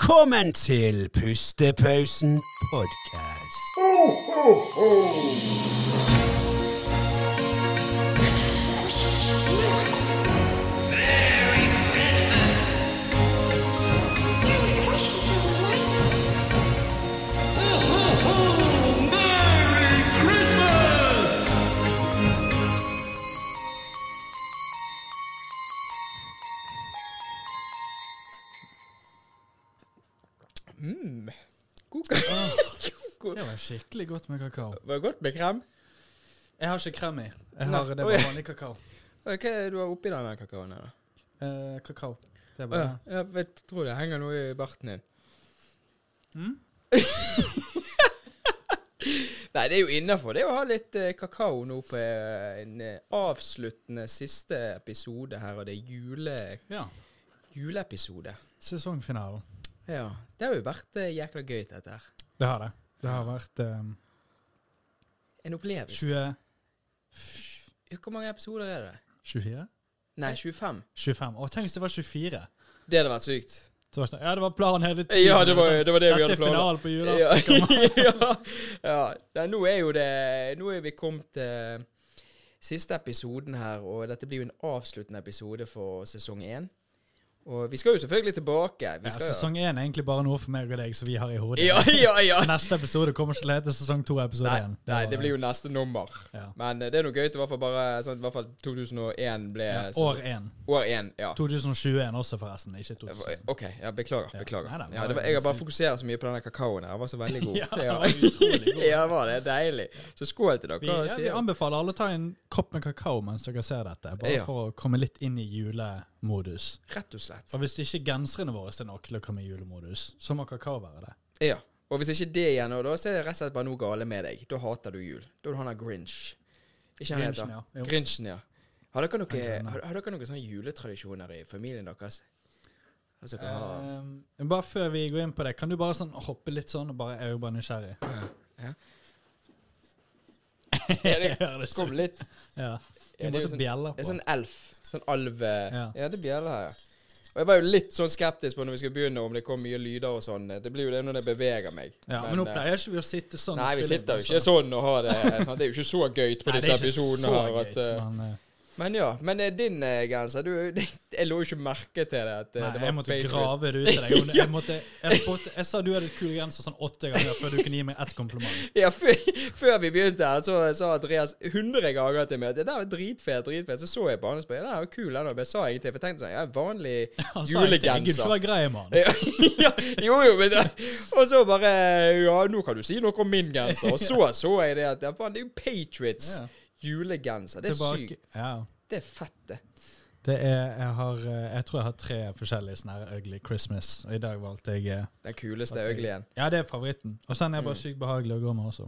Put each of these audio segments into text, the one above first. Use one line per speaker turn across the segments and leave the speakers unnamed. Velkommen til Pustepausen podcast.
God ka- God-
Det var skikkelig godt med kakao.
Var det godt med krem?
Jeg har ikke krem i. Jeg
Nei.
har det
Oi.
var vanlig kakao.
Hva er det du har oppi denne kakaoen? her da?
Eh, kakao. Det er
Å
bare
ja, jeg vet, tror det henger noe i barten din.
mm?
Nei, det er jo innafor det å ha litt eh, kakao nå på eh, en eh, avsluttende siste episode her, og det er jule,
Ja.
juleepisode.
Sesongfinalen.
Ja. Det har jo vært eh, jækla gøy, dette her.
Det har det. Det har vært eh,
En opplevelse.
20
Ja, hvor mange episoder er det?
24?
Nei, 25.
25. Å, tenk hvis det var 24.
Det hadde vært sykt.
Så var det sånn, ja, det var planen hele tiden.
Ja, det var
Sånn,
det, var det vi
Dette
hadde
er
planlagt.
finalen på
Ja,
julaften. kommer.
ja, ja. Nei, nå er jo det Nå er vi kommet til siste episoden her, og dette blir jo en avsluttende episode for sesong én. Og vi skal jo selvfølgelig tilbake. Vi
Ja,
skal,
sesong 1 er egentlig bare noe for meg og deg som vi har i hodet.
ja, ja, ja.
Neste episode kommer ikke til å hete sesong 2 episode
Nei,
1.
nei, det blir jo neste nummer.
ja.
Men eh, det er noe gøy til i hvert fall bare sånn, at i hvert fall 2001 ble
ja,
sånn-
År 1.
År én, ja.
2021 også, forresten. Ikke 2000.
OK, ja, beklager.
Ja,
beklager.
nei,
ja,
nei, bare-
det var, jeg har bare fokusert så mye på den der kakaoen her. Den var så veldig god.
Ja, den var utrolig god.
ja, det var det. Deilig. Så skål til dere.
Vi, ja,
sier
vi
jeg.
anbefaler alle å ta en kopp med kakao mens dere ser dette, bare
Ja.
for å komme litt inn i julemodus.
Rett og slett.
Og hvis ikke genserne våre er nok til å komme i julemodus, så må kakao være det.
Ja. Og hvis ikke det igjen, og da, så er det rett og slett bare noe gale med deg. Da hater du jul. Da er du han der Grinch. Ikke han
Grinchen,
heter?
ja. Jo.
Grinchen, ja. Har dere noe-
Han grønne.
har- har dere noen sånne juletradisjoner i familien deres? Altså, dere har...
Eh, bare før vi går inn på det, kan du bare sånn hoppe litt sånn og bare Jeg er jo bare nysgjerrig.
Ja.
Jeg hører det
Kom
sånn.
litt.
Ja.
Ja,
Du
det
må
er jo
også
sånn, det
bjelle
er
på.
sånn elf. Sånn alv... Ja,
Ja.
det er bjeller her, ja. Og jeg var jo litt sånn skeptisk på når vi skulle begynne, om det kom mye lyder og sånn. Det blir jo det når det beveger meg.
Ja, men nå
eh,
pleier ikke vi å sitte sånn. og
Nei, vi
spille
sitter jo
på
ikke sånn og har det sant? Det er jo ikke så gøy på
Nei,
disse episodene her.
Det er
at,
ikke så
eh,
gøy, men eh,
Men ja, men eh, din eh, genser du, Jeg lå jo ikke merke til det. At eh,
Nei,
det var
jeg måtte
Patriot.
grave det ut til deg. og Jeg, måtte, jeg, spurte, jeg sa du hadde et kul genser sånn åtte ganger før du kunne gi meg ett kompliment.
Ja, før, før vi begynte her, så sa Andreas 100 ganger til meg at det der var dritfet, dritfet. Så så jeg på han og spurte ja, den var kul, den, og jeg sa ingenting. For jeg tenkte sånn, ja, vanlig
Han sa egentlig, jeg gidder ikke
julegenser.
være grei, mann.
Ja, ja, jo, jo, men Og så bare Ja, nå kan du si noe om min genser. Og så så jeg det at ja, faen, det er jo Patriots
Ja.
julegenser. Det er
Tilbake-
sykt.
Ja.
Det er fett, det.
Det er, jeg, har, eh, jeg tror jeg har tre forskjellige sånne her ugly Christmas. og I dag valgte jeg eh,
Den kuleste
At jeg-
øglien.
Ja, det er favoritten. Og så er
Mm.
jeg bare sykt behagelig å gå med også.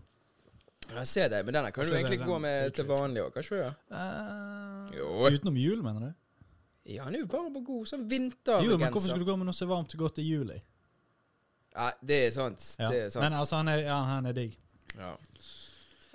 Jeg ser det, men denne kan
Og
du
så er det
egentlig
den
gå med til
Patriots.
vanlig òg, kan ikke du? det? Jo.
Eh, utenom jul, mener du?
Ja, han er jo varm og god. Sånn vintergenser.
Jo, men hvorfor skulle du gå med noe så varmt og godt i juli?
Nei, det er sant.
Ja.
Det er sant.
Men altså, han er, ja, han er digg.
ja.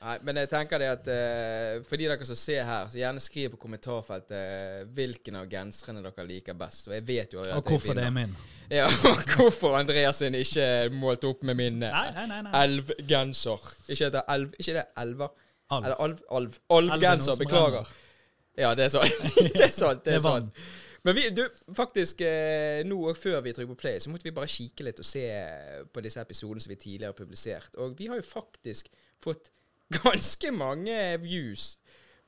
Nei, men jeg tenker det at eh, for de dere som ser her, så gjerne skriv på kommentarfeltet eh, hvilken av genserne dere liker best. Og jeg vet jo allerede
Og hvorfor det er min.
Ja, og hvorfor Andreas sin ikke er målt opp med min eh,
Nei, nei, nei. nei.
elvgenser. Ikke heter elv... Ikke det elver?
Alv.
Eller alv... Alv.
Elven
Alvgenser.
hos
Beklager.
Moreller.
Ja, det er sant. det er sant.
Det
Det
er
er sant.
vann.
Men vi, du, faktisk eh, nå og før vi trykker på play, så måtte vi bare kikke litt og se på disse episodene som vi tidligere har publisert. Og vi har jo faktisk fått ganske mange views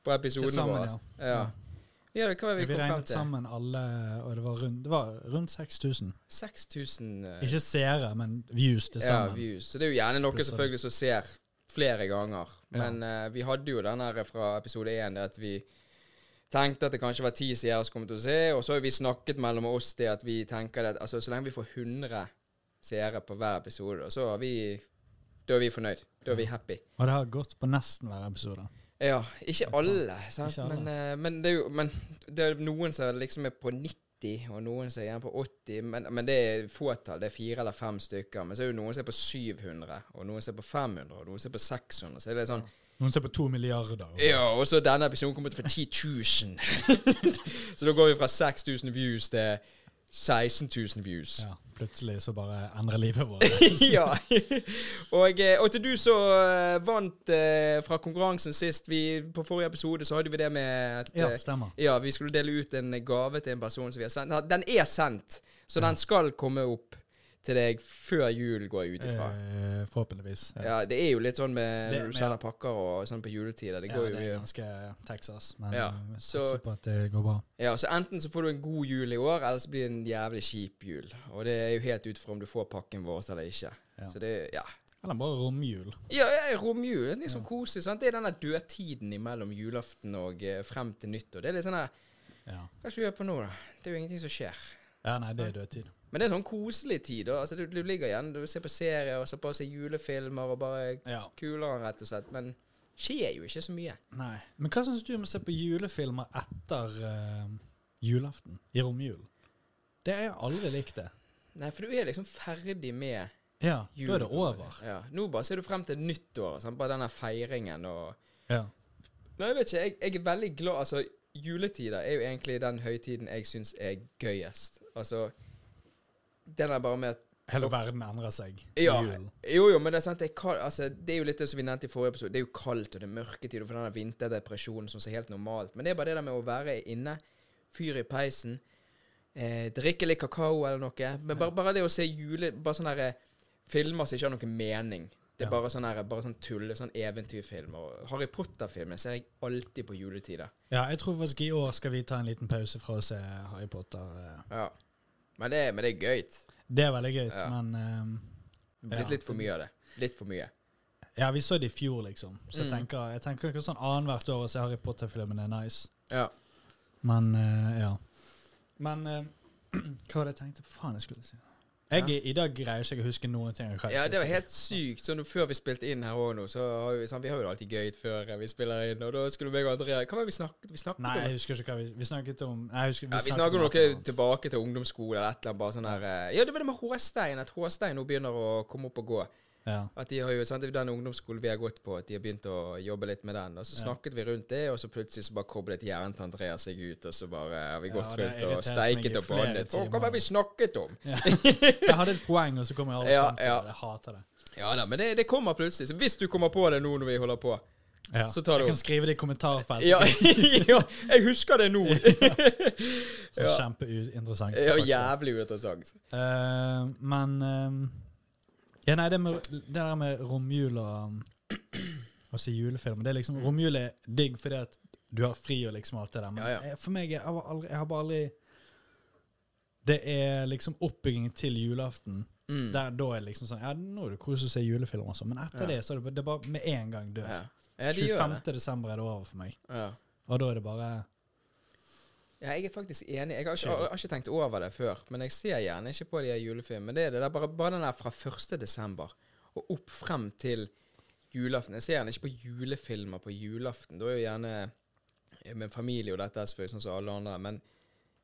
på
Til
episodene
sammen,
våre. Ja. Ja. hva var
Vi
det vi kom frem
regnet
til?
sammen alle, og det var rundt, det var rundt 6000.
6000 eh,
Ikke seere, men views til
ja,
sammen.
views. Så det er jo gjerne noe
Pluss-
selvfølgelig som ser flere ganger.
Ja.
Men eh, vi hadde jo den her fra episode én, det at vi tenkte at det kanskje var ti seere som kom til å se, og så har vi snakket mellom oss det at vi tenker det at altså, så lenge vi får 100 seere på hver episode, da, så er vi, da er vi fornøyd. Da er vi happy.
Og det har gått på nesten hver episode.
Ja, ikke alle, sant?
Ikke alle.
Men, eh, men det er jo men det er noen som liksom er på 90, og noen som er gjerne på 80, men, men det er fåtall. Det er fire eller fem stykker. Men så er det jo noen som er på 700, og noen som er på 500, og noen som er på 600. Så er det sånn
Noen ser på to milliarder. og-
Ja, og så denne episoden kommer ut for 10 000. så da går vi fra 6000 views til 16 000 views.
Ja, plutselig så bare endrer livet vårt.
ja. Og, eh, og til du som eh, vant eh, fra konkurransen sist vi, På forrige episode så hadde vi det med at
Ja,
eh,
stemmer.
ja, vi skulle dele ut en gave til en person som vi har sendt. Nei, Den er sendt, så den skal komme opp til deg før jul, går jeg ut ifra.
Eh, forhåpentligvis. Ja.
Ja, det er jo litt sånn med
Det-
når du
men-
sender pakker og sånn på juletider. Det
Ja,
går jo
det er
i
ganske Texas, men
Ja,
vi
så-
satser på at det går bra.
Ja, så enten så får du en god jul i år, eller så blir det en jævlig kjip jul. Og det er jo helt ut fra om du får pakken vår eller ikke.
Ja.
Så det, ja.
Eller bare romjul.
Ja, ja, romjul. Det er litt sånn koselig. sant? Det er den der dødtiden imellom julaften og eh, frem til nyttår. Det er litt sånn der
Ja.
Hva skal vi gjøre på nå, da? Det er jo ingenting som skjer.
ja, nei, det er dødtid.
Men det er en sånn koselig tid. da. Altså, du, du ligger igjen, du ser på serier og så bare ser julefilmer og bare
Ja.
kuler den, rett og slett. Men skjer jo ikke så mye.
Nei. Men hva syns du om å se på julefilmer etter eh, julaften? I romjul? Det har jeg aldri likt, det.
Nei, for du er liksom ferdig med
Ja,
jul.
da er det over.
Ja. Nå bare ser du frem til nyttåret. sant? Bare denne feiringen og
Ja.
Nei, jeg vet ikke. Jeg, jeg er veldig glad Altså, juletider er jo egentlig den høytiden jeg syns er gøyest. Altså, den er bare med at
Hele verden endrer seg i
ja,
jul.
jo, jo, men det er sant, det er, kald, altså, det er jo litt det som vi nevnte i forrige episode. Det er jo kaldt, og det er mørketid, og for den der vinterdepresjonen som er helt normalt. Men det er bare det der med å være inne, fyr i peisen, eh, drikke litt kakao eller noe. Men bare, bare det å se jule... Bare sånne der, eh, filmer som ikke har noen mening. Det er
Ja.
bare sånne, der, bare sånn tulle, sånn eventyrfilmer. Og Harry Potter-filmer ser jeg alltid på juletider.
Ja, jeg tror faktisk i år skal vi ta en liten pause fra å se Harry Potter. eh.
Ja. Men det, men det er gøy.
Det er veldig gøy,
Ja.
men eh,
Det er Blitt
Ja.
litt for mye av det. Litt for mye.
Ja, vi så det i fjor, liksom. Så jeg
Mm.
tenker, jeg tenker ikke sånn annethvert år å se Harry Potter-filmen er nice.
Ja.
Men eh, ja. Men eh, hva var det jeg tenkte på? Faen, jeg skulle si jeg, I dag greier jeg ikke å huske noen ting. av hva jeg
Ja, det
skulle
var
si.
helt sykt. Sånn, før vi spilte inn her òg nå, så har vi, sånn, vi har jo det alltid gøy før eh, vi spiller inn. Og da skulle meg og Andrea Hva var det vi snakket vi snakket
Nei,
om?
jeg husker ikke hva vi, vi snakket om. Nei, jeg husker,
Ja, vi
snakket
snakker om
et eller
noe
annet.
tilbake til ungdomsskole eller et eller annet. bare sånn her eh, Ja, det var det med Håstein. At Håstein nå begynner å komme opp og gå.
Ja.
At de har jo, sant, det er jo Den ungdomsskolen vi har gått på, at de har begynt å jobbe litt med den. Og så
Ja.
snakket vi rundt det, og så plutselig så bare koblet hjernen til Andrea seg ut. Og så bare har vi
Ja,
gått
det har
rundt og
irritert meg i
steiket og
flere
bannet. Å, Hva
timer.
var det vi snakket om?
Jeg hadde et poeng, og så kom jeg aldri
Ja,
frem til
ja.
det. Jeg hater det.
Ja da, men det, det kommer plutselig. Så hvis du kommer på det nå når vi holder på
Ja.
Så tar du
jeg
opp.
kan skrive det i kommentarfeltet.
Ja, ja jeg husker det nå.
Så
Ja.
Kjempeinteressant.
Det er
faktisk.
jo jævlig uinteressant.
Eh, men eh, Ja, nei, det, med, det der med romjul og Og så julefilm det er
Mm.
liksom, Romjul er digg fordi at du har fri og liksom alt det der, men
Ja, ja.
eh, for meg er- jeg har aldri, jeg har bare aldri Det er liksom oppbygging til julaften.
Mm.
Der, da er det liksom sånn Ja, nå er det kos å se julefilm, og sånn, men etter
Ja.
det så er det, bare- det er bare med en gang død.
Ja. ja, de gjør
25.
det.
desember er det over for meg.
Ja.
Og da er det bare
ja, jeg er faktisk enig. Jeg har ikke, jeg har ikke tenkt over det før, men jeg ser gjerne ikke på de her julefilmene. Det er det der, bare, bare den der fra 1. desember og opp frem til julaften. Jeg ser gjerne ikke på julefilmer på julaften. Da er jo gjerne med familie og dette er selvfølgelig sånn som alle andre, men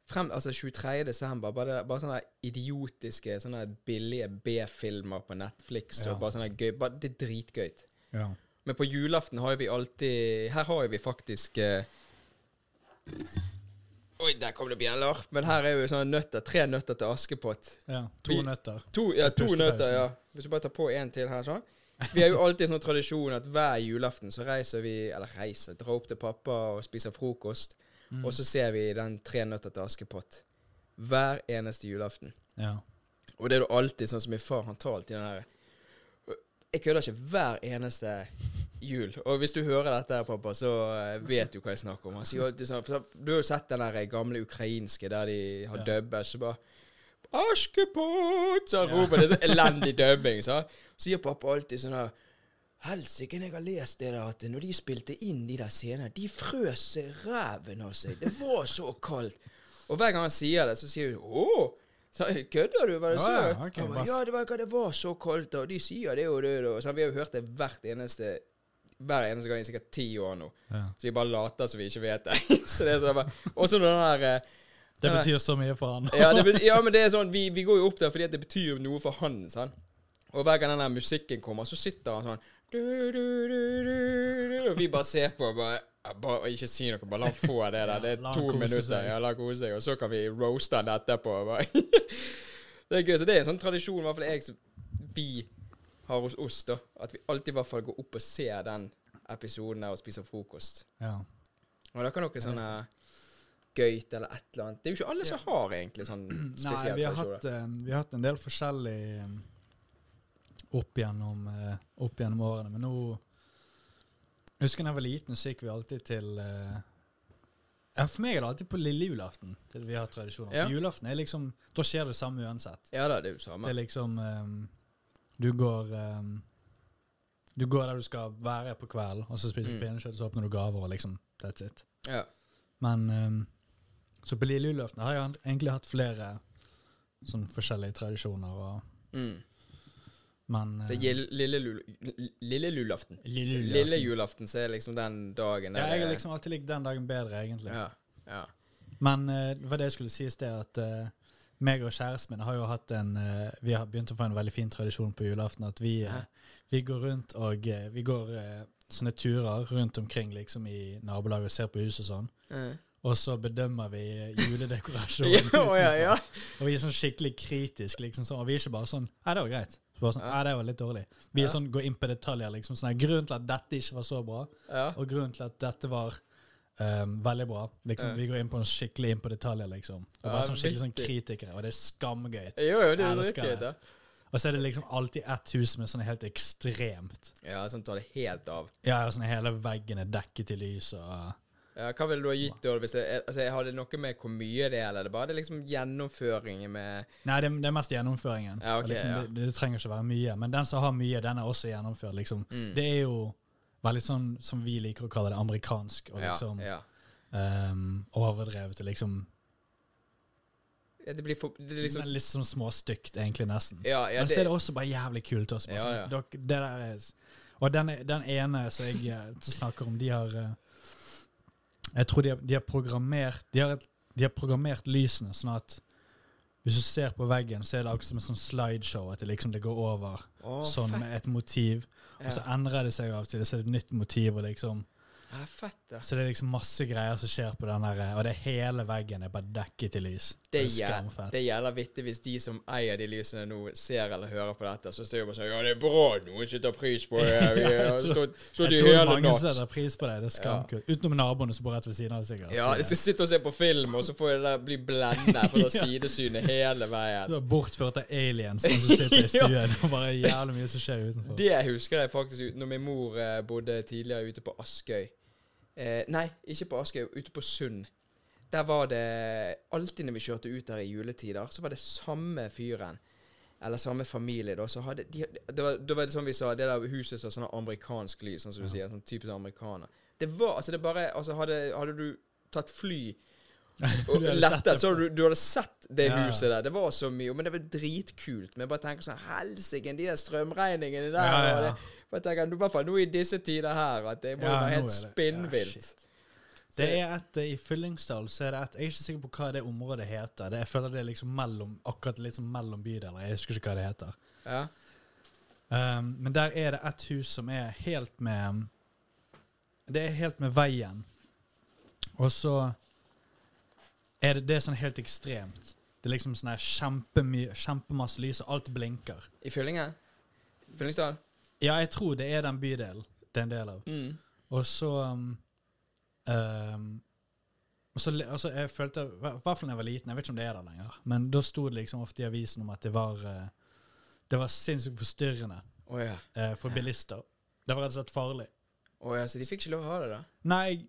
frem, altså 23. desember, bare, det- bare sånne idiotiske, sånne billige B-filmer på Netflix,
Ja.
og bare sånne gøy, bare, det er dritgøyt.
Ja.
Men på julaften har jo vi alltid Her har jo vi faktisk eh, Oi, der kom det bjeller. Men her er jo sånne nøtter, tre nøtter til Askepott.
ja to
Vi-
nøtter.
To, ja, to
Pustepausen.
nøtter, ja. Hvis du bare tar på én til her, sånn. Vi har jo alltid sånn tradisjon at hver julaften så reiser vi Eller reiser, drar opp til pappa og spiser frokost. Og så ser vi den Tre nøtter til Askepott. Hver eneste julaften.
Ja.
Og det er jo alltid sånn som min far, han tar alltid den der Jeg kødder ikke hver eneste jul. Og hvis du hører dette her, pappa, så eh, vet du hva jeg snakker om. Han sier alltid sånn for Du har jo sett den der gamle ukrainske der de har
Ja.
dubber, så bare Askepott! Så han roper det sånn elendig dubbing. Så Så sier pappa alltid sånn her Helsike, jeg har lest det der at når de spilte inn de der scenene, de frøs ræven av seg. Det var så kaldt. Og hver gang han sier det, så sier hun Å! Så, kødder du? Var det
Ja,
så?
ja, ok,
Han bare,
bare-
ja, det var, ikke- det var så kaldt, og de sier det og det. Og sånn, vi har jo hørt det hvert eneste hver eneste gang i sikkert ti år nå.
ja.
Så vi bare later som vi ikke vet det. så det er sånn bare- Og så den der eh,
Det
Nei.
betyr så mye for han.
ja, det bet- ja, men det er sånn, vi, vi går jo opp der fordi at det betyr noe for han, sant? Og hver gang den der musikken kommer, så sitter han sånn du, du, du, du, du, Og vi bare ser på og bare Ja, Bare, ikke si noe, bare la han få det der. Det er
Ja, la han
to
kose
minutter,
seg.
ja, la han kose seg, og så kan vi roaste han etterpå. bare. det er gøy, så det er en sånn tradisjon, i hvert fall jeg, som vi har hos oss, da. At vi alltid i hvert fall går opp og ser den episoden der og spiser frokost.
Ja.
Og da kan dere sånne gøyt eller et eller annet. Det er jo ikke alle som har egentlig sånn
Nei,
spesiell
vi har,
tradisjon.
hatt, eh, vi har hatt en del forskjellig eh, opp gjennom, eh, opp gjennom årene, men nå Jeg husker da jeg var liten, så gikk vi alltid til eh, ja, For meg er det alltid på lille julaften til vi har tradisjoner.
Ja.
På Julaften er liksom Da skjer det samme uansett.
Ja da, det er jo
Det
samme.
er liksom ehm, Du går ehm, Du går der du skal være på kvelden, og så spiser du
Mm.
pinnekjøtt, så åpner du gaver, og liksom That's it.
Ja.
Men ehm, Så på lille julaften har jeg egentlig hatt flere sånn forskjellige tradisjoner, og
Mm.
Men
Så
eh,
gil- lille, lul, lille lulaften.
lille julaften
Lille julaften så er liksom den dagen
Ja,
der
jeg har
det-
liksom alltid likt den dagen bedre, egentlig.
ja, ja.
Men eh, det var det jeg skulle si i sted, at eh, meg og kjæresten min har jo hatt en eh, Vi har begynt å få en veldig fin tradisjon på julaften at vi, eh,
Hæ?
vi går rundt og eh, Vi går eh, sånne turer rundt omkring liksom i nabolaget og ser på hus og sånn.
Mm.
Og så bedømmer vi
Ja,
juledekorasjonen.
å, ja, ja.
Og vi er sånn skikkelig kritiske, liksom sånn. Og vi er ikke bare sånn Nei, det var greit. Så bare sånn, Nei, det var litt dårlig. Vi
Ja.
er sånn, går inn på detaljer, liksom. Sånn, her, grunnen til at dette ikke var så bra,
ja.
og grunnen til at dette var ehm, veldig bra. Liksom,
Ja.
Vi går inn på en skikkelig inn på detaljer, liksom. Og
Ja,
bare sånn skikkelig sånn
viktig.
kritikere, og det er skamgøy.
Jo, jo, det er riktig.
Elsker det.
da.
Og så er det liksom alltid ett hus med sånn helt ekstremt.
Ja, sånn tar det helt av.
Ja, ja, sånn hele veggen er dekket i lys og
Ja, hva ville du ha gitt da? Hvis det, er- altså, jeg hadde noe med hvor mye det er, eller er det bare det er liksom gjennomføringen med
Nei, det, det er mest gjennomføringen.
Ja, ok,
Og liksom,
ja.
det, det trenger ikke være mye. Men den som har mye, den er også gjennomført, liksom.
Mm.
Det er jo veldig sånn som vi liker å kalle det, amerikansk. Og
ja,
liksom
ja.
ehm, overdrevet og liksom
Ja, Det blir for det er
liksom
liksom
Litt sånn småstygt, egentlig, nesten.
Ja, ja,
Men så er
det,
det også bare jævlig kult også. Bare,
Ja,
sånn,
ja.
dok- det der er, s- og den, den ene som jeg eh, som snakker om, de har eh, Jeg tror de har, de har programmert de har, et- de har programmert lysene sånn at hvis du ser på veggen, så er det akkurat som et sånn slideshow. At det liksom det går over
Å,
sånn
fett.
med et motiv. Og så
Ja.
endrer det seg jo av og til. Så er det et nytt motiv. Og liksom,
ja, fett, da.
så det er liksom masse greier som skjer på den der. eh, Og det hele veggen er bare dekket i lys.
Det er, jæ-
skamfett.
det er jævla vittig hvis de som eier de lysene nå, ser eller hører på dette, så står de bare sånn Ja, det er bra at noen setter pris på det. Vi
jeg
har
tror-
stått stått i
Jeg tror
hele
mange
natt.
setter pris på det. Det er skamkult. Utenom naboene som bor rett ved siden av, sikkert.
Ja, de
det
skal sitte og se på film, og så får de der bli blenda fra
Ja.
sidesynet hele veien.
du har bortført av aliens som sitter i stuen, og bare jævlig mye som skjer utenfor.
Det husker jeg faktisk ut- når min mor eh, bodde tidligere ute på Askøy. Eh, nei, ikke på Askøy, ute på Sund. Der var det alltid når vi kjørte ut der i juletider, så var det samme fyren. Eller samme familie, da. Så hadde de, det var, da var det sånn vi sa, det der huset som har sånn amerikansk lys, sånn som du sier. Sånn typisk amerikaner. Det var altså det bare altså Hadde, hadde du tatt fly
Du
Og
hadde sett
lette,
det.
så hadde du, du hadde sett det
Ja, ja.
huset der. Det var så mye, men det var dritkult. Men jeg bare tenker sånn Helsike, de der strømregningene der.
Ja, ja,
og
ja.
det- Bare tenker, nå- I hvert fall nå i disse tider her, at det må jo
Ja,
være
nå
helt
er det- ja,
spinnvilt.
shit. Det er et eh, I Fyllingsdal så er det et Jeg er ikke sikker på hva det området heter. Det, jeg føler det er liksom mellom akkurat liksom mellom bydeler. Jeg husker ikke hva det heter.
Ja.
Um, men der er det et hus som er helt med Det er helt med veien. Og så er det, det er sånn helt ekstremt. Det er liksom sånn her kjempemye, kjempemasse lys, og alt blinker.
I Fyllingen? Fyllingsdalen?
Ja, jeg tror det er den bydelen det er en del av.
Mm.
Og så um, um, og så le- altså jeg følte, I hvert fall da jeg var liten, jeg vet ikke om det er der lenger, men da sto det liksom ofte i avisen om at det var eh, Det var sinnssykt forstyrrende
Å ja.
eh, for bilister. Det var rett og slett farlig.
Å ja. Så de fikk ikke lov å ha det, da?
Nei, jeg,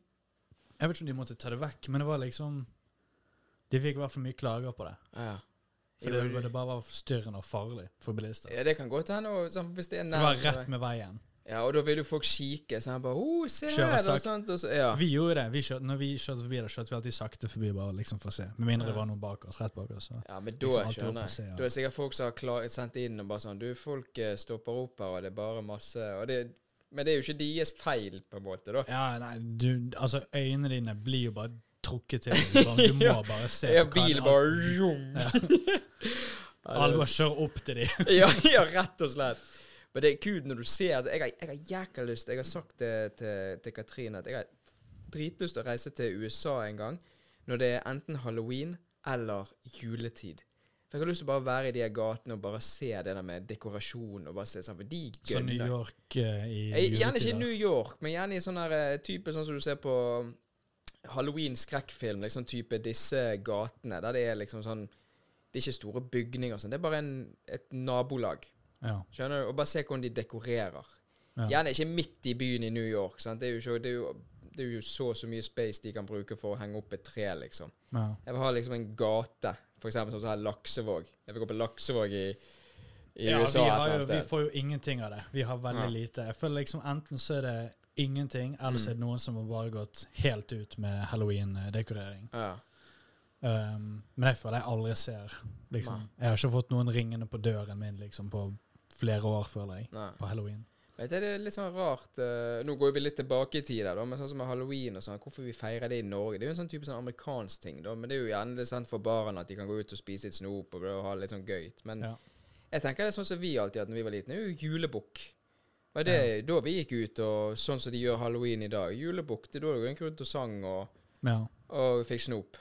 jeg vet ikke om de måtte ta det vekk, men det var liksom De fikk i hvert fall mye klager på det.
Ja.
For det, det bare var forstyrrende og farlig for bilister.
ja, det kan godt hende. og sånn, Hvis det er
For det var
nærmere.
rett med veien.
Ja, og da vil jo folk kikke. Så han bare oh, se
Kjører
her, og
sak.
sånt. Og så, ja.
Vi gjorde det. Vi kjørte, når vi kjørte forbi der, kjørte vi alltid sakte forbi bare liksom for å se. Med mindre det var noen bak oss. Rett bak oss. Så.
Ja, men da
Liksom alt
skjønner
opp og
jeg.
se, ja.
Da er det sikkert folk som har klar, sendt inn og bare sånn Du, folk eh, stopper opp her, og det er bare masse og det, Men det er jo ikke deres feil, på en måte, da.
Ja, nei, du, altså øynene dine blir jo bare trukket til. Du, bare, du må bare se.
Ja,
på hva det
bilen
er.
bare rom.
Alle bare kjører opp til dem.
ja, ja, rett og slett. Men det er kult når du ser altså, jeg, har, jeg har jækla lyst Jeg har sagt det til, til Katrine at jeg har dritlyst til å reise til USA en gang når det er enten halloween eller juletid. For Jeg har lyst til å bare være i de her gatene og bare se det der med dekorasjon. og bare se sånn, for de
Så New
gønner.
York eh, i
Eh, Gjerne ikke i
juletider.
New York, men gjerne i sånn her, eh, type sånn som du ser på halloween-skrekkfilm. liksom type Disse gatene der det er liksom sånn Det er ikke store bygninger, og sånn, det er bare en, et nabolag.
Ja.
Skjønner du? Og bare se hvordan de dekorerer.
Ja.
Gjerne ikke midt i byen i New York. Sant? Det, er jo ikke, det, er jo, det er jo så så mye space de kan bruke for å henge opp et tre, liksom.
Ja.
Jeg vil ha liksom en gate, for eksempel sånn som her Laksevåg. Jeg vil gå på Laksevåg i, i
ja,
USA
vi,
et
har
eller
jo,
annet
vi
sted.
får jo ingenting av det. Vi har veldig
Ja.
lite. Jeg føler liksom Enten så er det ingenting, eller
Mm.
så er det noen som har bare gått helt ut med halloween-dekorering.
Ja.
Um, men jeg føler jeg aldri ser liksom. Jeg har ikke fått noen ringende på døren min liksom, på flere år, føler jeg,
Nei.
på halloween.
Vet du, det er litt sånn rart eh, Nå går vi litt tilbake i tid, her, da, men sånn som med halloween og sånn, hvorfor vi feirer det i Norge Det er jo en sånn type sånn amerikansk ting, da, men det er jo gjerne litt sånn for barna at de kan gå ut og spise litt snop og, ha det litt sånn gøy. Men
Ja.
jeg tenker det er sånn som vi alltid hadde når vi var liten, det er jo julebukk. Var det da vi gikk ut, og sånn som de gjør halloween i dag. Julebukk, det er da du gikk rundt og sang og,
Ja.
og fikk snop.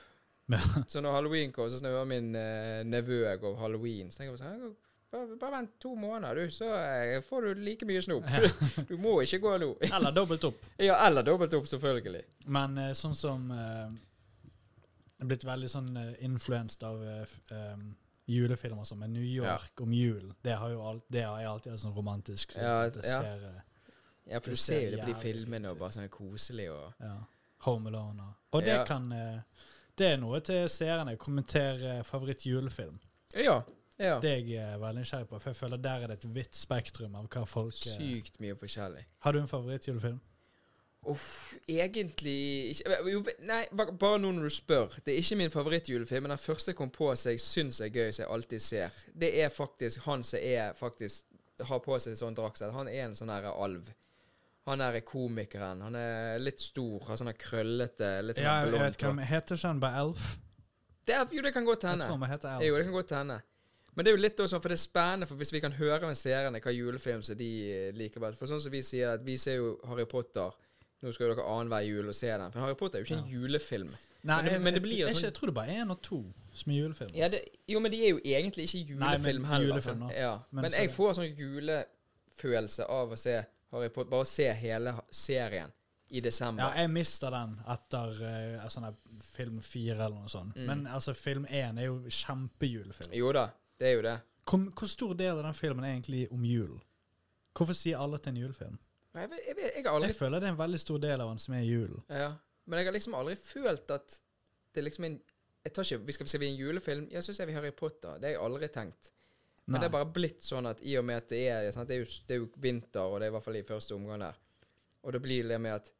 Ja.
Så når halloween kom, så snører min eh, nevø jeg går halloween. Så tenker jeg sånn «Ja, bare, bare vent to måneder, du, så eh, får du like mye snop. Du må ikke gå nå.
Eller dobbelt opp.
Ja, eller dobbelt opp, selvfølgelig.
Men eh, sånn som eh, Jeg er blitt veldig sånn eh, influenced av eh, f- em, julefilmer som er New York om julen. Det har, jo alt, det har jeg alltid hatt sånn romantisk
Ja,
det
ja.
ser, eh,
Ja, for
Det
du ser jo
ser
det på de
jævlig fint
filmene og
ut.
bare sånn koselig og
ja, Home Alone og Og det
Ja.
kan eh, Det er noe til seerne. Kommentere favoritt-julefilm.
Ja. ja.
Det er jeg eh, veldig nysgjerrig på, for jeg føler der er det et vidt spektrum av hva folk eh,
Sykt mye forskjellig.
Har du en favorittjulefilm?
Uff, egentlig ikke jo, Nei, ba- bare nå når du spør. Det er ikke min favorittjulefilm, men den første jeg kom på som jeg syns er gøy, som jeg alltid ser, det er faktisk han som er faktisk har på seg sånn draktsett. Han er en sånn her alv. Han er komikeren. Han er litt stor, har sånn her krøllete, litt sånn
Ja,
her
jeg vet
blondt
hva
hår.
den heter. Ikke den bare Elf?
Det er- Jo, det kan godt
Jeg
hende.
tror den heter Elf.
Jo, det kan godt hende. Men det er jo litt også, sånn, for det er spennende, for hvis vi kan høre med seerne hva julefilm som de eh, liker best For sånn som vi sier, at vi ser jo Harry Potter Nå skal jo dere annenhver jul og se den. For Harry Potter er jo ikke en julefilm.
Nei,
Men det-
jeg,
men det
jeg-
blir jo
jeg,
sånn-
jeg tror det bare er én og to som er julefilm.
Ja, det, jo, men de er jo egentlig ikke
Nei, men
julefilm heller.
julefilm,
sant?
da.
ja.
Men
men
så-
jeg får sånn julefølelse av å se Harry Potter Bare å se hele ha- serien i
Ja,
desember.
jeg mister den etter eh, sånn her film fire eller noe sånt.
Mm.
Men altså, film én er jo kjempejulefilm.
Jo da, det er jo det.
Hvor, hvor stor del av den filmen er egentlig om jul? Hvorfor sier alle at det er en julefilm?
Men Jeg, vet- jeg, vet- jeg har aldri
Jeg føler det er en veldig stor del av den som er julen.
Ja, men jeg har liksom aldri følt at det er liksom en jeg tar ikke, vi skal se vi en julefilm, ja, så ser vi Harry Potter. Det har jeg aldri tenkt. Men
Nei.
det er bare blitt sånn at i og med at det er sant, det er, jo, det er jo vinter, og det er i hvert fall i første omgang der, og da blir det med at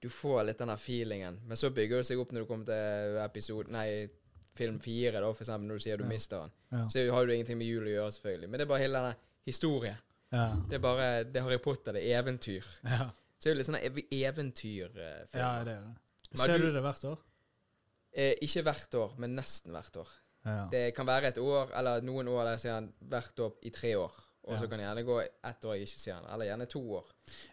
du får litt den der feelingen, men så bygger det seg opp når du kommer til episode, nei, film fire, da, for eksempel, når du sier du mister den.
Ja.
Så har du ingenting med jul å gjøre, selvfølgelig. Men det er bare hele denne historien.
Ja.
Det er bare det er Harry Potter, det er eventyr.
Ja.
Så det er jo litt sånn ev eh, eventyrfilm.
ja, det er det.
Men
Ser
du-
du det hvert år?
Eh, ikke hvert år, men nesten hvert år.
Ja.
Det kan være et år eller noen år der jeg ser den hvert år i tre år. Og så
Ja.
kan det gjerne gå ett år jeg ikke ser den, eller gjerne to år.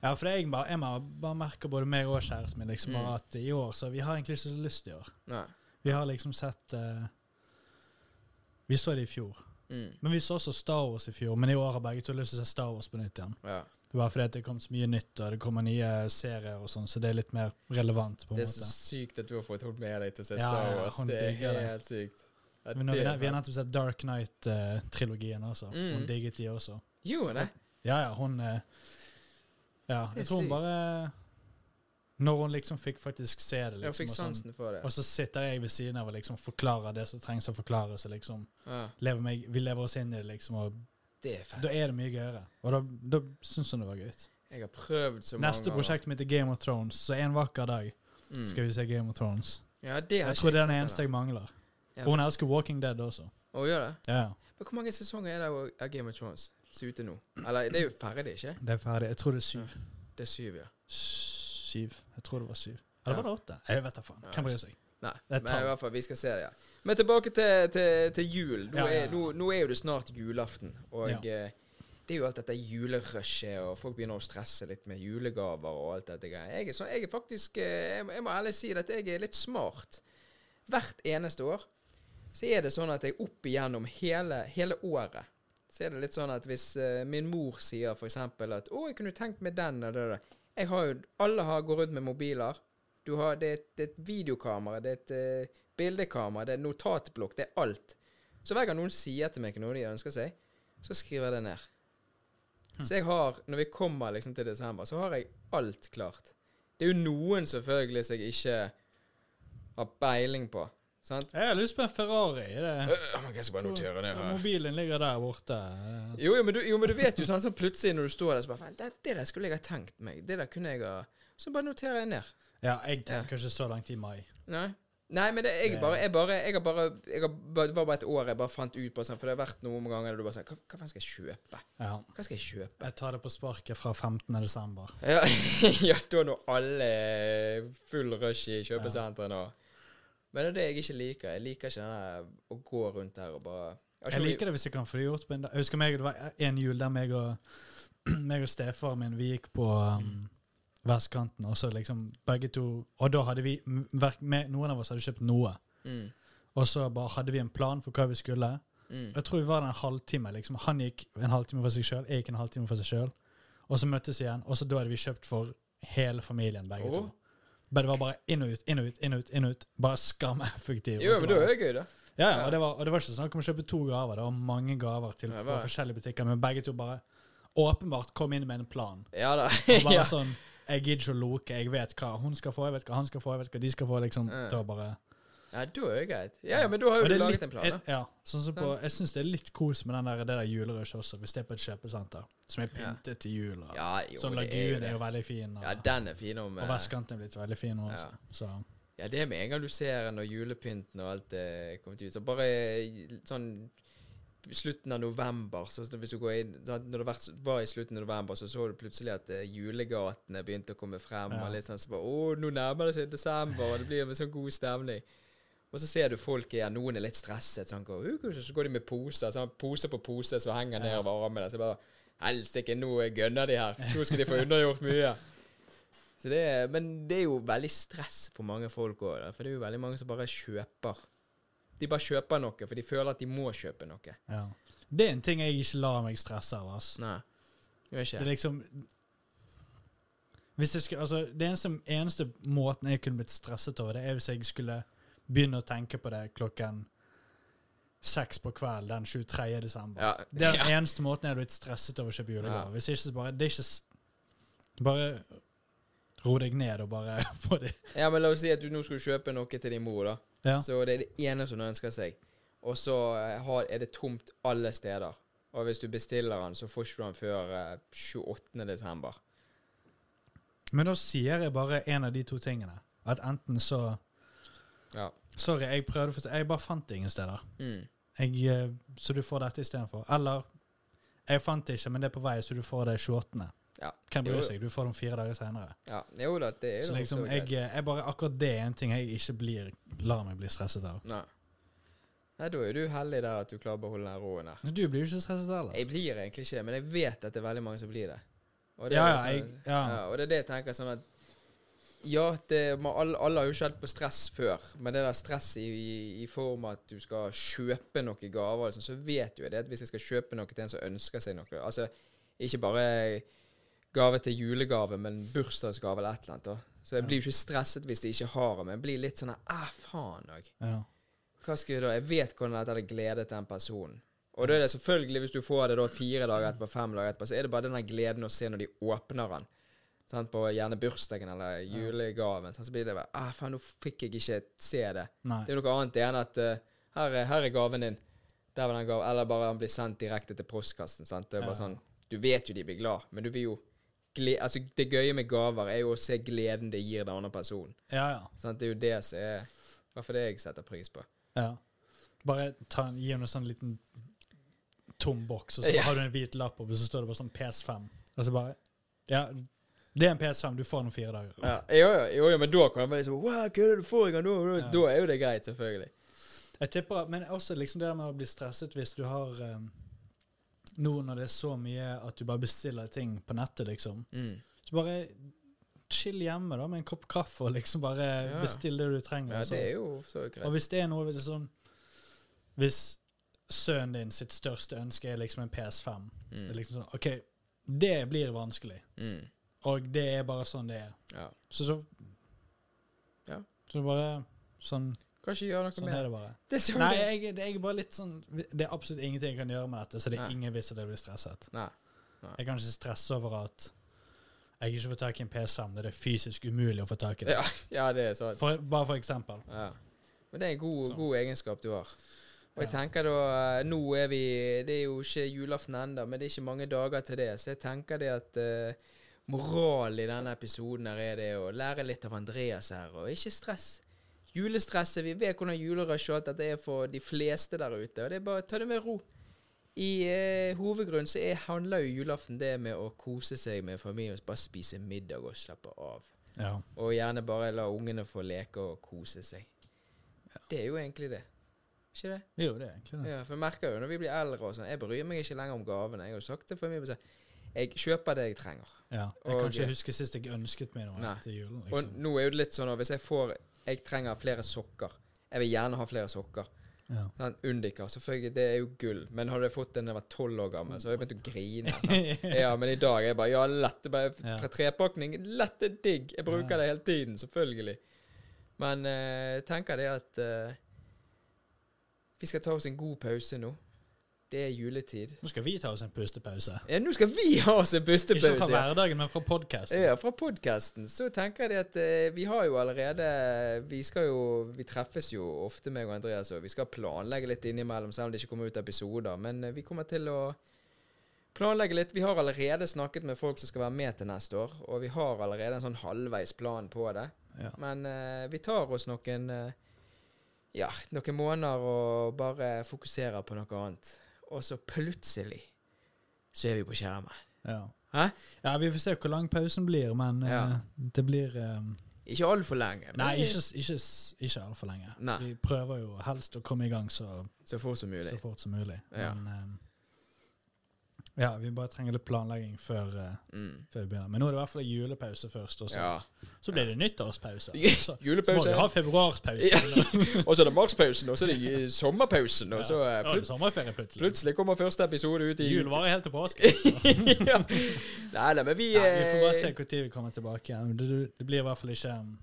ja, for det er jeg bare, jeg bare, bare merker både meg og kjæresten min liksom,
Mm.
bare at i år, så vi har egentlig ikke så lyst i år.
Nei.
Vi har liksom sett eh, Vi så det i fjor.
Mm.
Men vi så også Star Wars i fjor, men i år har begge to lyst til å se Star Wars på nytt igjen.
Ja.
Det var fordi at det kom så mye nytt, og det kommer nye serier og sånn, så det er litt mer relevant, på en
Det er så
måte.
sykt at du har fått holdt med deg til å se
Ja,
Star
ja,
Wars.
hun
det er
digger det.
helt sykt. Ja,
Men nå, vi,
det er
ne- vi har
bra.
nettopp sett Dark Knight-trilogien også.
Mm.
Hun digget de også.
Jo, nei.
Ja, ja, hun eh, Ja,
Det er
jeg tror hun
sykt.
bare Når hun liksom fikk faktisk se det,
Jeg
liksom,
fikk
og, sånn,
sansen for det.
og så sitter jeg ved siden av og liksom forklarer det som trengs å forklares, og liksom
Ja.
lever meg, Vi lever oss inn i det, liksom, og
Det er fett.
da er det mye gøyere. Og da, da syns hun det var gøy.
Jeg har prøvd så mange
Neste prosjektet mitt er Game of Thrones, så en vakker dag
Mm.
skal vi se Game of Thrones.
Ja, det har
Jeg tror det er den
sett
eneste jeg mangler.
Ja.
Og hun elsker Walking Dead også.
ennå. Å, gjør det?
Ja, ja.
Men hvor mange sesonger er det av Game of Thrones som er ute nå? Eller det er jo ferdig, ikke?
det er ferdig. Jeg tror det er syv.
Det er syv, ja.
Syv. Jeg tror det var syv. Eller
Ja.
var det åtte? Jeg vet da faen.
Ja.
Hvem bryr seg?
Nei,
Det er
men
tall.
i hvert fall, vi skal se det, ja. Men tilbake til, til, til jul. Nå,
Ja, ja, ja.
Er, nå, nå er jo det snart julaften, og
Ja.
eh, det er jo alt dette julerushet, og folk begynner å stresse litt med julegaver og alt dette greiet. Jeg er, sånn, jeg er faktisk eh, Jeg må- jeg må ærlig si at jeg er litt smart. Hvert eneste år så er det sånn at jeg opp igjennom hele, hele året så er det litt sånn at hvis eh, min mor sier for eksempel at 'Å, jeg kunne tenkt meg den' og det der Jeg har jo Alle har går rundt med mobiler. Du har Det er et, det er et videokamera, det er et eh, bildekamera, det er notatblokk, det er alt. Så hver gang noen sier til meg noe de ønsker seg, så skriver jeg det ned. Så jeg har, når vi kommer liksom til desember, så har jeg alt klart. Det er jo noen selvfølgelig som jeg ikke har peiling på. Sant?
Jeg har lyst på en Ferrari. Det.
Øh, men jeg skal bare notere ned her.
Mobilen ligger der borte.
Jo, jo, men du, jo, men du vet jo sånn, sånn plutselig når du står der, så bare "Faen, det, det der skulle jeg ha tenkt meg. Det der kunne jeg ha Så bare noterer jeg ned.
Ja, jeg tenker ikke så langt i mai.
Nei. Nei, men det, jeg,
Det-
bare, jeg bare Jeg har bare jeg har, bare- Det var bare et år jeg bare fant ut på sånn, for det har vært noen ganger der du bare sånn Hva, hva faen skal jeg kjøpe?
Ja.
Hva skal jeg kjøpe?
Jeg tar det på sparket fra 15. desember.
Ja, ja da når alle er full rush i kjøpesentrene og Men det er det jeg ikke liker. Jeg liker ikke den der å gå rundt der og bare
Jeg liker det hvis jeg kan få det gjort på en dag. Jeg husker meg, det var en jul der meg og, meg og stefaren min vi gikk på um, vestkanten, og så liksom begge to Og da hadde vi m- hver- me- Noen av oss hadde kjøpt noe,
Mm,
og så bare hadde vi en plan for hva vi skulle.
mm,
Jeg tror vi var der en halvtime. liksom. Han gikk en halvtime for seg sjøl, jeg gikk en halvtime for seg sjøl. Og så møttes vi igjen, og så da hadde vi kjøpt for hele familien, begge
Åh.
to. Men det var bare inn og ut, inn og ut, inn og ut. inn og ut. Bare skameffektiv.
Jo,
Og så
men det
bare-
er jo gøy, da.
ja,
Ja.
ja, og det, var, og det var ikke sånn snakk om å kjøpe to gaver. Det var mange gaver til
Ja, det
fra
var-
forskjellige butikker, men begge to bare åpenbart kom inn med en plan.
Ja da.
Og bare
ja.
sånn Jeg gidder ikke å loke. Jeg vet hva hun skal få, jeg vet hva han skal få, jeg vet hva de skal få. liksom.
Ja.
Det var bare...
ja, da er det greit. Ja, ja, men da har
Og
jo du
det er
laget
litt-
en plan, da.
Ja. sånn som på, Jeg syns det er litt kos med den der, det der julerushet også, hvis det er på et kjøpesenter som er
Ja.
pyntet til jul. og
Ja, jo,
Sånn
det er jo
Lagun er
det.
jo veldig fin, og,
Ja, den er fin om
og
eh,
vestkanten er blitt veldig fin nå også.
Ja.
Så,
Ja, det med en gang du ser den, og julepynten og alt det er kommet ut. Så bare eh, sånn slutten av november, så hvis du går inn sånn, Når det var, var i slutten av november, så så du plutselig at eh, julegatene begynte å komme frem.
Ja.
Og litt sånn så bare Å, nå nærmer det seg desember, og det blir en sånn god stemning. Og så ser du folk igjen, noen er litt stresset, sånn, går, «Uh, så går de med poser, sånn, pose på pose som henger ned over armene. Så bare Helsike, nå gønner de her. Nå skal de få unnagjort mye. Så det er, men det er jo veldig stress for mange folk òg. For det er jo veldig mange som bare kjøper. De bare kjøper noe, for de føler at de må kjøpe noe.
ja. Det er en ting jeg ikke lar meg stresse av. ass.
Nei. Gjør ikke.
Det er liksom hvis jeg skulle, altså, Det eneste, eneste måten jeg kunne blitt stresset over det, er hvis jeg skulle begynne å tenke på det klokken seks på kvelden den 23. desember.
Ja.
Det er
ja.
den eneste måten jeg hadde blitt stresset over å kjøpe julegaver.
Ja.
Hvis ikke, så bare det er ikke, s- Bare ro deg ned og bare få det
ja, men la oss si at du nå skulle kjøpe noe til din mor, da.
ja.
Så det er det eneste hun ønsker seg. Og så eh, har, er det tomt alle steder. Og hvis du bestiller den, så får ikke du den før eh, 28. desember.
Men da sier jeg bare en av de to tingene. At enten så
Ja.
Sorry, jeg prøvde å forstå Jeg bare fant det ingen steder.
Mm.
jeg, eh, så du får dette istedenfor. Eller jeg fant det ikke, men det er på vei, så du får det 28.
Ja.
Hvem
Jo,
bryr seg? Du får dem fire dager senere.
ja. Jo da, det er
Så
jo
liksom,
også
jeg,
greit.
eh, jeg bare, akkurat det er en ting jeg ikke blir, lar meg bli stresset av.
Nei. Nei, da er du heldig der at du klarer å beholde den roen der.
Men Du blir jo ikke stresset heller.
Jeg blir egentlig ikke det, men jeg vet at det er veldig mange som blir det. Og det,
Ja,
er
ja,
liksom-
jeg- ja.
Og det er det jeg tenker sånn at Ja, det, man, alle, alle har jo ikke hatt på stress før, men det der stresset i, i, i form av at du skal kjøpe noen gaver, liksom, så vet jo jeg det at hvis jeg skal kjøpe noe til en som ønsker seg noe Altså ikke bare gave til julegave, men bursdagsgave eller et eller annet. da. Så jeg blir jo ikke stresset hvis de ikke har det, men jeg blir litt sånn ah, faen òg.
Ja.
Hva skal jeg da? Jeg vet hvordan dette hadde gledet den personen. Og da er det selvfølgelig, hvis du får det da fire dager etterpå, fem dager etterpå, så er det bare den der gleden å se når de åpner den. Sant? På gjerne bursdagen eller julegaven. Sant? Så blir det bare ah, faen, nå fikk jeg ikke se det.
Nei.
Det er noe annet enn at eh, her, er, her er gaven din. Der var den gaven. Eller bare han blir sendt direkte til postkassen. Sant? Det er bare
Ja.
sånn Du vet jo de blir glad, men du vil jo gle Altså, det gøye med gaver er jo å se gleden det gir den andre personen.
Ja, ja.
Sant? Det er jo det som er I hvert fall det jeg setter pris på.
ja. Bare ta, en- gi henne en sånn liten tom boks, og så
Ja.
har du en hvit lapp, og så står det bare sånn PS5. Og så bare Ja, det er en PS5. Du får den om fire dager.
Ja, jo, jo, jo, jo, men da kan man liksom Wow, hva er det du får i gang? Da, da,
Ja.
da er jo det greit, selvfølgelig.
Jeg tipper, Men også liksom det der med å bli stresset hvis du har um, Nå eh, når det er så mye at du bare bestiller ting på nettet, liksom.
Mm.
Så bare chill hjemme da, med en kopp kaffe og liksom bare
Ja.
bestill det du trenger.
Ja,
og sånn.
det er jo så
Og
greit.
hvis det er noe hvis det er sånn Hvis sønnen din sitt største ønske er liksom en PS5
Mm.
det er liksom sånn, OK, det blir vanskelig.
Mm.
Og det er bare sånn det er.
Ja.
Så så
Ja.
Så bare Sånn,
Kanskje gjøre noe
sånn
med
er
det.
det bare.
Det er sånn
Nei,
det er.
jeg, det er bare litt sånn Det er absolutt ingenting jeg kan gjøre med dette, så det er
Nei.
ingen vits at jeg blir stresset.
Nei.
Jeg kan ikke stresse over at jeg ikke får tak i en PS5. Det er fysisk umulig å få tak i det.
Ja, det er sant.
For, bare for eksempel.
Ja. Men det er en god,
Sånn.
god egenskap du har. Og jeg
Ja.
tenker da eh, Nå er vi Det er jo ikke julaften ennå, men det er ikke mange dager til det. Så jeg tenker det at eh, moralen i denne episoden her er det å lære litt av Andreas her, og ikke stress. Julestresset Vi vet hvordan julerush og alt dette er for de fleste der ute, og det er bare å ta det med ro. I eh, hovedgrunn så er, handler jo julaften det med å kose seg med familien, bare spise middag og slappe av.
Ja.
Og gjerne bare la ungene få leke og kose seg. Det er jo egentlig det. Ikke det?
Jo, det er egentlig det.
Ja, for jeg merker jo når vi blir eldre og sånn Jeg bryr meg ikke lenger om gavene. Jeg har jo sagt det for mye. men så- Jeg kjøper det jeg trenger.
Ja. Jeg
Og-
kan ikke huske sist jeg ønsket meg noe
Nei.
etter julen.
Og
Liksom.
nå er jo det litt sånn at hvis jeg får Jeg trenger flere sokker. Jeg vil gjerne ha flere sokker.
Ja.
Sånn, Undiker, selvfølgelig, det er jo gull. Men hadde jeg fått den da jeg var tolv år gammel, så hadde jeg begynt å grine. sant? Ja, men i dag er jeg bare Ja, lett. det er Bare
Ja.
fra trepakning. Lett det er digg. Jeg bruker
Ja.
det hele tiden, selvfølgelig. Men eh, jeg tenker det at eh, Vi skal ta oss en god pause nå. Det er juletid.
Nå skal vi ta oss en pustepause.
Ja, nå skal vi ha oss en
Ikke fra
pustepause! ja. Eh.
hverdagen, men fra podkasten.
Ja, fra podkasten så tenker jeg det at eh, vi har jo allerede Vi skal jo Vi treffes jo ofte, meg og Andreas, og vi skal planlegge litt innimellom, selv om det ikke kommer ut episoder. Men eh, vi kommer til å planlegge litt. Vi har allerede snakket med folk som skal være med til neste år, og vi har allerede en sånn halvveis plan på det.
Ja.
Men eh, vi tar oss noen eh, Ja, noen måneder og bare fokuserer på noe annet. Og så plutselig så er vi på skjermen.
Ja.
Hæ?
ja, vi får se hvor lang pausen blir, men eh,
Ja.
det blir eh,
Ikke altfor lenge. men-
Nei, ikke, s- ikke, s- ikke altfor lenge.
Nei.
Vi prøver jo helst å komme i gang så,
Så fort som mulig.
så fort som mulig.
Ja.
Men eh, ja, vi bare trenger litt planlegging før, eh,
Mm.
før vi begynner. Men nå er det i hvert fall julepause først, og så,
Ja.
så blir det nyttårspause. Så, så må
Julepause,
vi ha februarspause.
Ja.
eller-
og så er det marspausen, og så er det ju- sommerpausen, og så eh,
Ja, det er
plut
sommerferie plutselig.
plutselig kommer første episode ut i
Jul varer helt til påske. så.
ja. Nei, nei, men vi
Nei, vi får bare se
eh,
når vi kommer tilbake. igjen. Det, det blir i hvert fall ikke um,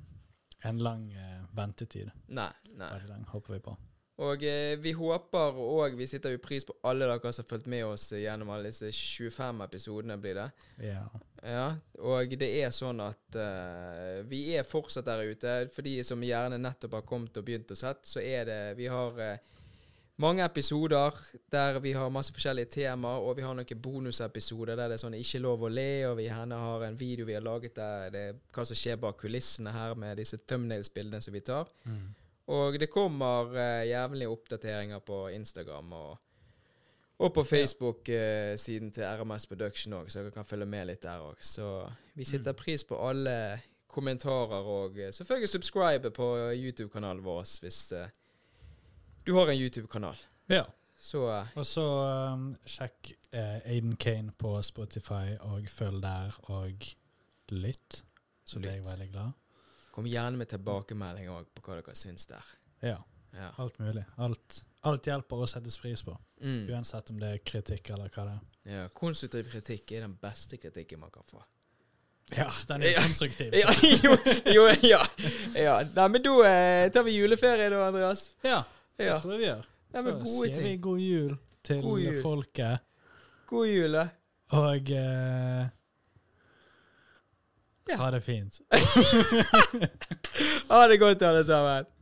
en lang eh, ventetid.
Nei, nei.
Veldig lang, håper vi på.
Og eh, vi håper og vi sitter jo pris på alle dere som har fulgt med oss gjennom alle disse 25 episodene, blir det.
Ja.
Ja, og det er sånn at eh, vi er fortsatt der ute. For de som gjerne nettopp har kommet og begynt å sett, så er det Vi har eh, mange episoder der vi har masse forskjellige temaer, og vi har noen bonusepisoder der det er sånn 'ikke lov å le', og vi gjerne har en video vi har laget der det er hva som skjer bak kulissene her med disse thumbnails-bildene som vi tar. Og det kommer eh, jævnlige oppdateringer på Instagram og, og på Facebook-siden til RMS Production òg, så dere kan følge med litt der òg. Så vi setter pris på alle kommentarer og eh, selvfølgelig subscribe på YouTube-kanalen vår hvis eh, du har en YouTube-kanal.
ja.
Så eh,
Og så um, sjekk eh, Aiden Kane på Spotify, og følg der, og lytt. Så blir jeg
Lytt.
veldig glad.
kom gjerne med tilbakemelding òg på hva dere syns der.
Ja.
Ja.
Alt mulig. Alt, alt hjelper og settes pris på.
Mm.
Uansett om det er kritikk eller hva det er.
ja. Konstruktiv kritikk er den beste kritikken man kan få.
Ja, den er
Ja.
konstruktiv.
Ja,
så.
jo, jo, ja. ja. Nei, men da eh, tar vi juleferie da, Andreas.
Ja, det
Ja.
tror jeg vi gjør.
Nei,
Da
men gode
sier vi
ting.
god jul til
God jul.
folket.
God jul, da.
Og eh,
Ja.
ha det fint.
Ha det godt, alle sammen.